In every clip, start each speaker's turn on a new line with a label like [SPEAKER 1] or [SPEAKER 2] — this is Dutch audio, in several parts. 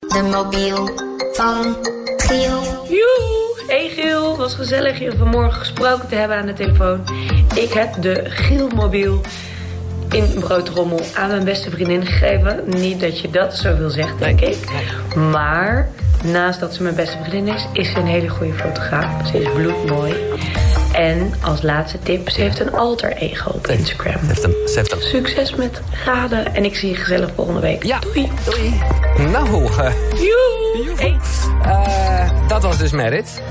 [SPEAKER 1] De mobiel van Giel.
[SPEAKER 2] Joe! Hey Giel, was gezellig je vanmorgen gesproken te hebben aan de telefoon. Ik heb de Gielmobiel in broodrommel aan mijn beste vriendin gegeven. Niet dat je dat zo wil zeggen, denk ik. Maar naast dat ze mijn beste vriendin is, is ze een hele goede fotograaf. Ze is bloedmooi. En als laatste tip, ze heeft een alter ego op Instagram.
[SPEAKER 3] Ze heeft hem. Ze heeft hem.
[SPEAKER 2] Succes met raden en ik zie je gezellig volgende week.
[SPEAKER 3] Ja.
[SPEAKER 2] Doei!
[SPEAKER 3] Doei. Nou, eh,
[SPEAKER 2] Joe! Hey.
[SPEAKER 3] eh, dat was dus Merit.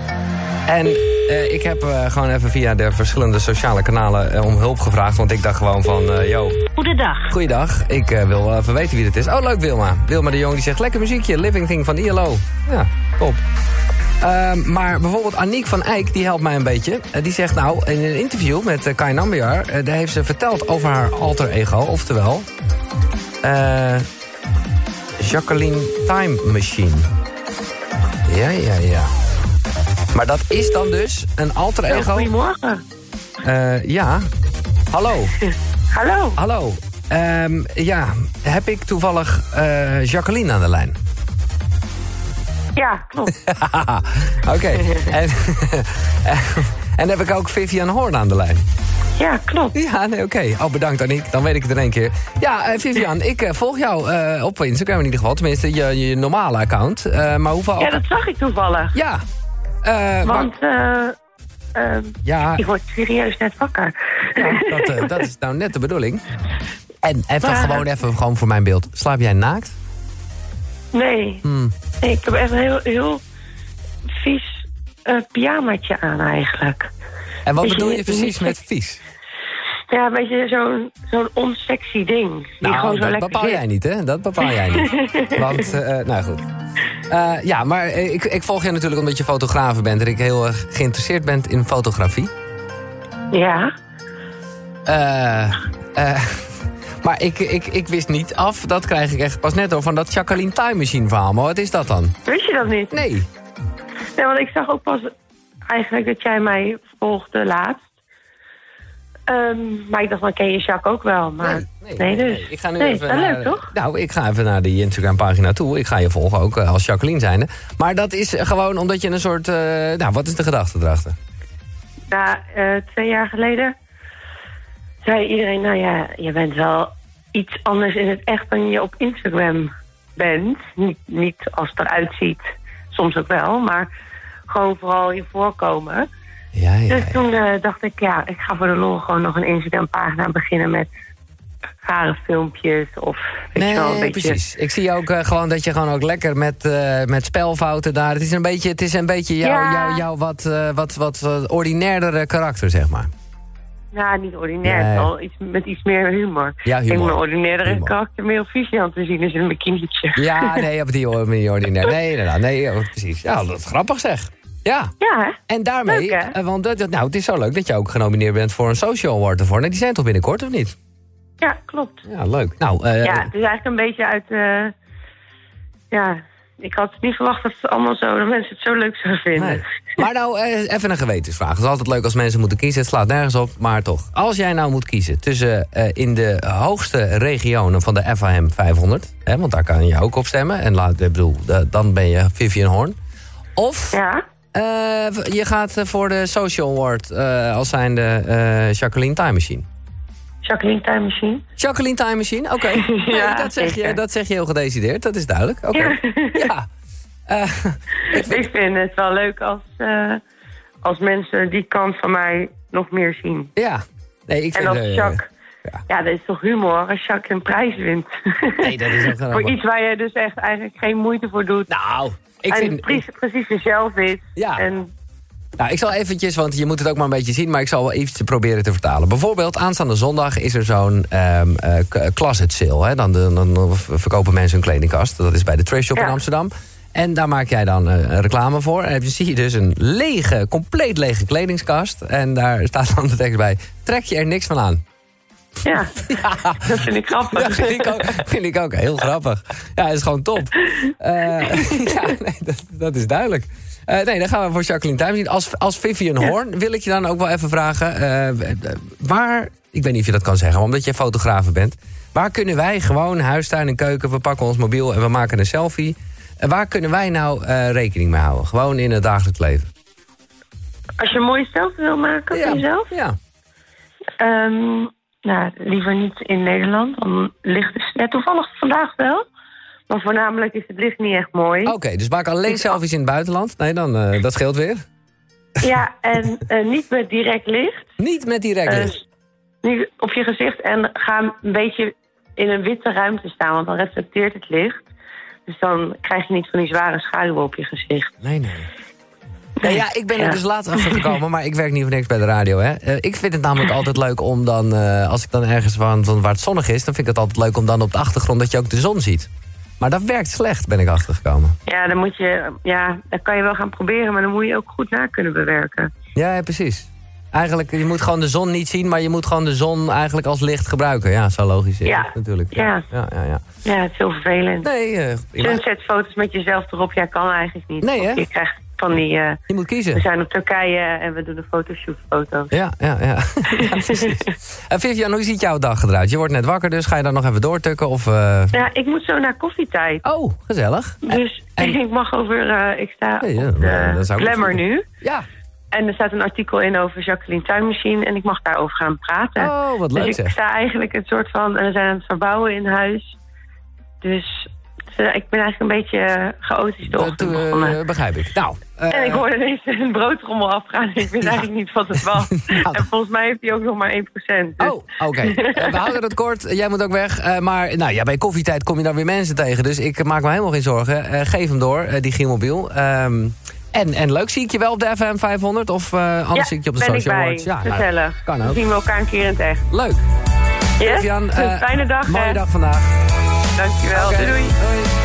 [SPEAKER 3] En eh, ik heb eh, gewoon even via de verschillende sociale kanalen eh, om hulp gevraagd. Want ik dacht gewoon van, eh yo,
[SPEAKER 4] Goedendag.
[SPEAKER 3] goeiedag. Ik eh, wil wel even weten wie dit is. Oh, leuk Wilma. Wilma de Jong die zegt, lekker muziekje. Living Thing van ILO. Ja, top. Ehm, maar bijvoorbeeld Aniek van Eyck, die helpt mij een beetje. Eh, die zegt nou, in een interview met eh, Kai Nambiar... eh, daar heeft ze verteld over haar alter ego, oftewel... eh, Jacqueline Time Machine. Ja, ja, ja. Maar dat is dan dus een alter ego...
[SPEAKER 4] Goedemorgen.
[SPEAKER 3] Eh, ja. Hallo.
[SPEAKER 4] Hallo.
[SPEAKER 3] Hallo. Ehm, ja, heb ik toevallig eh, Jacqueline aan de lijn?
[SPEAKER 4] Ja, klopt.
[SPEAKER 3] Haha, oké. En, en heb ik ook Vivian Hoorn aan de lijn?
[SPEAKER 4] Ja, klopt.
[SPEAKER 3] Ja, nee, oké. Oh, bedankt Aniek. Dan weet ik het in één keer. Ja, eh, Vivian, ik eh, volg jou eh, op Instagram in ieder geval. Tenminste, je, je normale account. Eh, maar hoeveel...
[SPEAKER 4] Ja, dat zag ik toevallig.
[SPEAKER 3] Ja. Eh, maar-
[SPEAKER 4] Want eh, eh,
[SPEAKER 3] ja,
[SPEAKER 4] ik word serieus net wakker.
[SPEAKER 3] dat, eh, dat is nou net de bedoeling. En even
[SPEAKER 4] Maar-
[SPEAKER 3] gewoon even gewoon voor mijn beeld. Slaap jij naakt?
[SPEAKER 4] nee.
[SPEAKER 3] Hmm.
[SPEAKER 4] nee. Ik heb echt een heel, heel vies eh pyjamaatje aan eigenlijk.
[SPEAKER 3] En wat
[SPEAKER 4] Dus je
[SPEAKER 3] bedoel je
[SPEAKER 4] hebt
[SPEAKER 3] precies
[SPEAKER 4] niet-
[SPEAKER 3] met vies?
[SPEAKER 4] Ja, een beetje zo'n zo'n onsexy ding. Die gewoon
[SPEAKER 3] Nou,
[SPEAKER 4] zo
[SPEAKER 3] dat
[SPEAKER 4] lekker
[SPEAKER 3] bepaal
[SPEAKER 4] zit.
[SPEAKER 3] jij niet, hè? Dat bepaal jij niet. Want, eh, nou goed. Eh, ja, maar eh, ik, ik volg je natuurlijk omdat je fotograaf bent... en ik heel erg geïnteresseerd ben in fotografie.
[SPEAKER 4] Ja.
[SPEAKER 3] Eh, eh, maar ik, ik, ik wist niet af, dat krijg ik echt pas net hoor... van dat Jacqueline Time Machine verhaal. Maar wat is dat dan?
[SPEAKER 4] Wist je dat niet?
[SPEAKER 3] Nee.
[SPEAKER 4] Nee, want ik zag ook pas eigenlijk dat jij mij volgde laatst. Ehm, maar ik dacht, dan ken je Jacques ook wel. Maar nee, dus.
[SPEAKER 3] Ik ga nu
[SPEAKER 4] nee,
[SPEAKER 3] even
[SPEAKER 4] wel
[SPEAKER 3] naar,
[SPEAKER 4] leuk, toch?
[SPEAKER 3] Nou, ik ga even naar die Instagram-pagina toe. Ik ga je volgen ook eh, als Jacqueline zijnde. Maar dat is gewoon omdat je een soort... eh, nou, wat is de gedachte erachter?
[SPEAKER 4] Na eh, twee jaar geleden zei iedereen... Nou ja, je bent wel iets anders in het echt dan je op Instagram bent. Niet, niet als het eruit ziet, soms ook wel. Maar gewoon vooral je voorkomen.
[SPEAKER 3] Ja, ja, ja.
[SPEAKER 4] Dus toen eh, dacht ik, ja, ik ga voor de lol gewoon nog een Instagram-pagina beginnen met rare filmpjes of weet je wel, een
[SPEAKER 3] Nee,
[SPEAKER 4] beetje...
[SPEAKER 3] precies. Ik zie ook eh, gewoon dat je gewoon ook lekker met, eh, met spelfouten daar. Het is een beetje, het is een beetje jouw
[SPEAKER 4] Ja.
[SPEAKER 3] jou, jou wat, eh, wat, wat, wat ordinairdere karakter, zeg maar.
[SPEAKER 4] Nou, niet ordinair,
[SPEAKER 3] Nee.
[SPEAKER 4] wel iets, met iets meer humor.
[SPEAKER 3] Ja, humor.
[SPEAKER 4] Ik mijn ordinaire
[SPEAKER 3] Humor.
[SPEAKER 4] karakter meer op visie aan te zien is in een bikinietje.
[SPEAKER 3] Ja, nee, op die manier ordinair. Nee, inderdaad. Nee, ja, precies. Ja, dat is grappig zeg. Ja.
[SPEAKER 4] Ja, hè?
[SPEAKER 3] En daarmee,
[SPEAKER 4] Leuk, hè?
[SPEAKER 3] eh, want dat, dat- nou, het is zo leuk dat je ook genomineerd bent voor een Social Award ervoor. Nee, die zijn toch binnenkort, of niet?
[SPEAKER 4] Ja, klopt.
[SPEAKER 3] Ja, leuk. Nou, eh,
[SPEAKER 4] Ja, het is eigenlijk een beetje uit... eh, ja, ik had het niet verwacht dat het allemaal zo... dat mensen het zo leuk zouden vinden.
[SPEAKER 3] nee. Maar nou, eh, even een gewetensvraag. Het is altijd leuk als mensen moeten kiezen. Het slaat nergens op, maar toch. Als jij nou moet kiezen tussen eh, in de hoogste regionen van de FAM 500... Hè, want daar kan je ook op stemmen. En laat, ik bedoel, eh, dan ben je Vivian Horn. Of
[SPEAKER 4] Ja?
[SPEAKER 3] eh, je gaat eh, voor de Social Award eh, als zijnde eh Jacqueline Time Machine.
[SPEAKER 4] Jacqueline Time Machine?
[SPEAKER 3] Jacqueline Time Machine, oké. Nee,
[SPEAKER 4] Ja,
[SPEAKER 3] dat, zeg je,
[SPEAKER 4] zeker.
[SPEAKER 3] dat zeg je heel gedecideerd, dat is duidelijk. Oké. Ja. Eh,
[SPEAKER 4] Ik vind het wel leuk als, eh, als mensen die kant van mij nog meer zien.
[SPEAKER 3] ja. Nee, ik
[SPEAKER 4] En
[SPEAKER 3] vind...
[SPEAKER 4] als
[SPEAKER 3] eh,
[SPEAKER 4] Jacques...
[SPEAKER 3] ja.
[SPEAKER 4] Ja. dat is toch humor als Jacques een prijs wint.
[SPEAKER 3] Nee, dat is ook wel
[SPEAKER 4] Voor
[SPEAKER 3] grappig.
[SPEAKER 4] iets waar je dus echt eigenlijk geen moeite voor doet.
[SPEAKER 3] Nou, ik
[SPEAKER 4] en
[SPEAKER 3] vind...
[SPEAKER 4] precies, precies jezelf is.
[SPEAKER 3] Ja.
[SPEAKER 4] En
[SPEAKER 3] Nou, ik zal eventjes, want je moet het ook maar een beetje zien... maar ik zal wel eventjes proberen te vertalen. Bijvoorbeeld, aanstaande zondag is er zo'n ehm eh, k- closet sale. Hè? Dan, dan, dan verkopen mensen hun kledingkast. Dat is bij de Trace Shop in
[SPEAKER 4] Ja.
[SPEAKER 3] Amsterdam. En daar maak jij dan eh, een reclame voor. En dan zie je dus een lege, compleet lege kledingskast. En daar staat dan de tekst bij... trek je er niks van aan.
[SPEAKER 4] ja, dat vind ik grappig.
[SPEAKER 3] Ja, vind ik ook, vind ik ook heel grappig. Ja, is gewoon top. Eh, ja, nee, dat, dat is duidelijk. Eh, nee, dan gaan we voor Jacqueline Time zien. Als, als Vivian Horn wil ik je dan ook wel even vragen... eh, eh, waar, ik weet niet of je dat kan zeggen, maar omdat je fotograaf bent... waar kunnen wij gewoon huis, tuin en keuken... we pakken ons mobiel en we maken een selfie... En waar kunnen wij nou eh, rekening mee houden? Gewoon in het dagelijks leven.
[SPEAKER 4] Als je een mooie selfie wil maken
[SPEAKER 3] ja.
[SPEAKER 4] van jezelf?
[SPEAKER 3] Ja.
[SPEAKER 4] Ehm, nou, liever niet in Nederland. Dan ligt het ja, toevallig vandaag wel. Maar voornamelijk is het licht niet echt mooi.
[SPEAKER 3] Oké, dus maak alleen selfies in het buitenland. Nee, dan, eh, dat scheelt weer.
[SPEAKER 4] Ja, en eh, niet met direct licht.
[SPEAKER 3] Niet met die
[SPEAKER 4] Eh,
[SPEAKER 3] rekkers.
[SPEAKER 4] niet op je gezicht. En ga een beetje in een witte ruimte staan. Want dan reflecteert het licht. Dus dan krijg je niet van die zware schaduwen op je gezicht.
[SPEAKER 3] Nee, nee. Nou ja, ik ben er
[SPEAKER 4] Ja.
[SPEAKER 3] dus laat achter gekomen, maar ik werk niet voor niks bij de radio. Hè. Eh, ik vind het namelijk altijd leuk om dan, eh, als ik dan ergens van, van waar het zonnig is, dan vind ik het altijd leuk om dan op de achtergrond dat je ook de zon ziet. Maar dat werkt slecht, ben ik achtergekomen.
[SPEAKER 4] Ja, dan moet je, ja, dat kan je wel gaan proberen. Maar dan moet je ook goed na kunnen bewerken.
[SPEAKER 3] Ja, ja, precies. Eigenlijk, je moet gewoon de zon niet zien, maar je moet gewoon de zon eigenlijk als licht gebruiken. Ja, zo logisch is
[SPEAKER 4] Ja.
[SPEAKER 3] het natuurlijk.
[SPEAKER 4] Ja.
[SPEAKER 3] ja, ja, ja.
[SPEAKER 4] Ja, het is heel vervelend.
[SPEAKER 3] Nee, eh, prima.
[SPEAKER 4] Sunsetfoto's met jezelf erop, ja, kan eigenlijk niet.
[SPEAKER 3] Nee, hè?
[SPEAKER 4] Je krijgt van die, eh,
[SPEAKER 3] je moet
[SPEAKER 4] we
[SPEAKER 3] kiezen.
[SPEAKER 4] zijn op Turkije en we doen de fotoshootfoto's.
[SPEAKER 3] Ja, ja, ja. ja precies. En Vivian, hoe ziet jouw dag eruit? Je wordt net wakker, dus ga je dan nog even doortukken? Of, eh,
[SPEAKER 4] Ja, ik moet zo naar koffietijd.
[SPEAKER 3] Oh, gezellig.
[SPEAKER 4] Dus
[SPEAKER 3] en-
[SPEAKER 4] ik mag over, eh, ik sta
[SPEAKER 3] Nee, ja,
[SPEAKER 4] op
[SPEAKER 3] maar dat
[SPEAKER 4] de
[SPEAKER 3] zou ik
[SPEAKER 4] Glamour
[SPEAKER 3] niet
[SPEAKER 4] nu.
[SPEAKER 3] Ja.
[SPEAKER 4] En er staat een artikel in over Jacqueline Tuinmachine en ik mag daarover gaan praten.
[SPEAKER 3] Oh, wat leuk
[SPEAKER 4] dus ik
[SPEAKER 3] zeg.
[SPEAKER 4] sta eigenlijk een soort van, en we zijn aan het verbouwen in huis. Dus eh, ik ben eigenlijk een beetje eh, chaotisch de
[SPEAKER 3] Dat
[SPEAKER 4] ochtend
[SPEAKER 3] eh,
[SPEAKER 4] begonnen.
[SPEAKER 3] begrijp ik. Nou, eh,
[SPEAKER 4] En ik hoorde ineens een broodrommel afgaan. Ik wist eigenlijk niet wat het was.
[SPEAKER 3] Nou.
[SPEAKER 4] En volgens mij heeft hij ook nog maar 1%. Dus-
[SPEAKER 3] Oh, oké. Eh, we houden het kort. Jij moet ook weg. Eh, maar nou, ja, bij koffietijd kom je daar weer mensen tegen. Dus ik maak me helemaal geen zorgen. Eh, geef hem door, eh, die Gielmobiel. Ehm, en, en leuk, zie ik je wel op de FM 500? Of eh, anders zie ik je op de
[SPEAKER 4] ben ik
[SPEAKER 3] Social
[SPEAKER 4] bij.
[SPEAKER 3] Awards? nou,
[SPEAKER 4] Gezellig.
[SPEAKER 3] kan
[SPEAKER 4] Dan
[SPEAKER 3] ook.
[SPEAKER 4] zien we elkaar een keer in het echt.
[SPEAKER 3] Leuk.
[SPEAKER 4] Yes?
[SPEAKER 3] Vivian, eh,
[SPEAKER 4] Fijne dag,
[SPEAKER 3] Mooie
[SPEAKER 4] hè.
[SPEAKER 3] dag vandaag.
[SPEAKER 4] Dankjewel.
[SPEAKER 3] Oké,
[SPEAKER 4] Doei. doei.
[SPEAKER 3] Doei.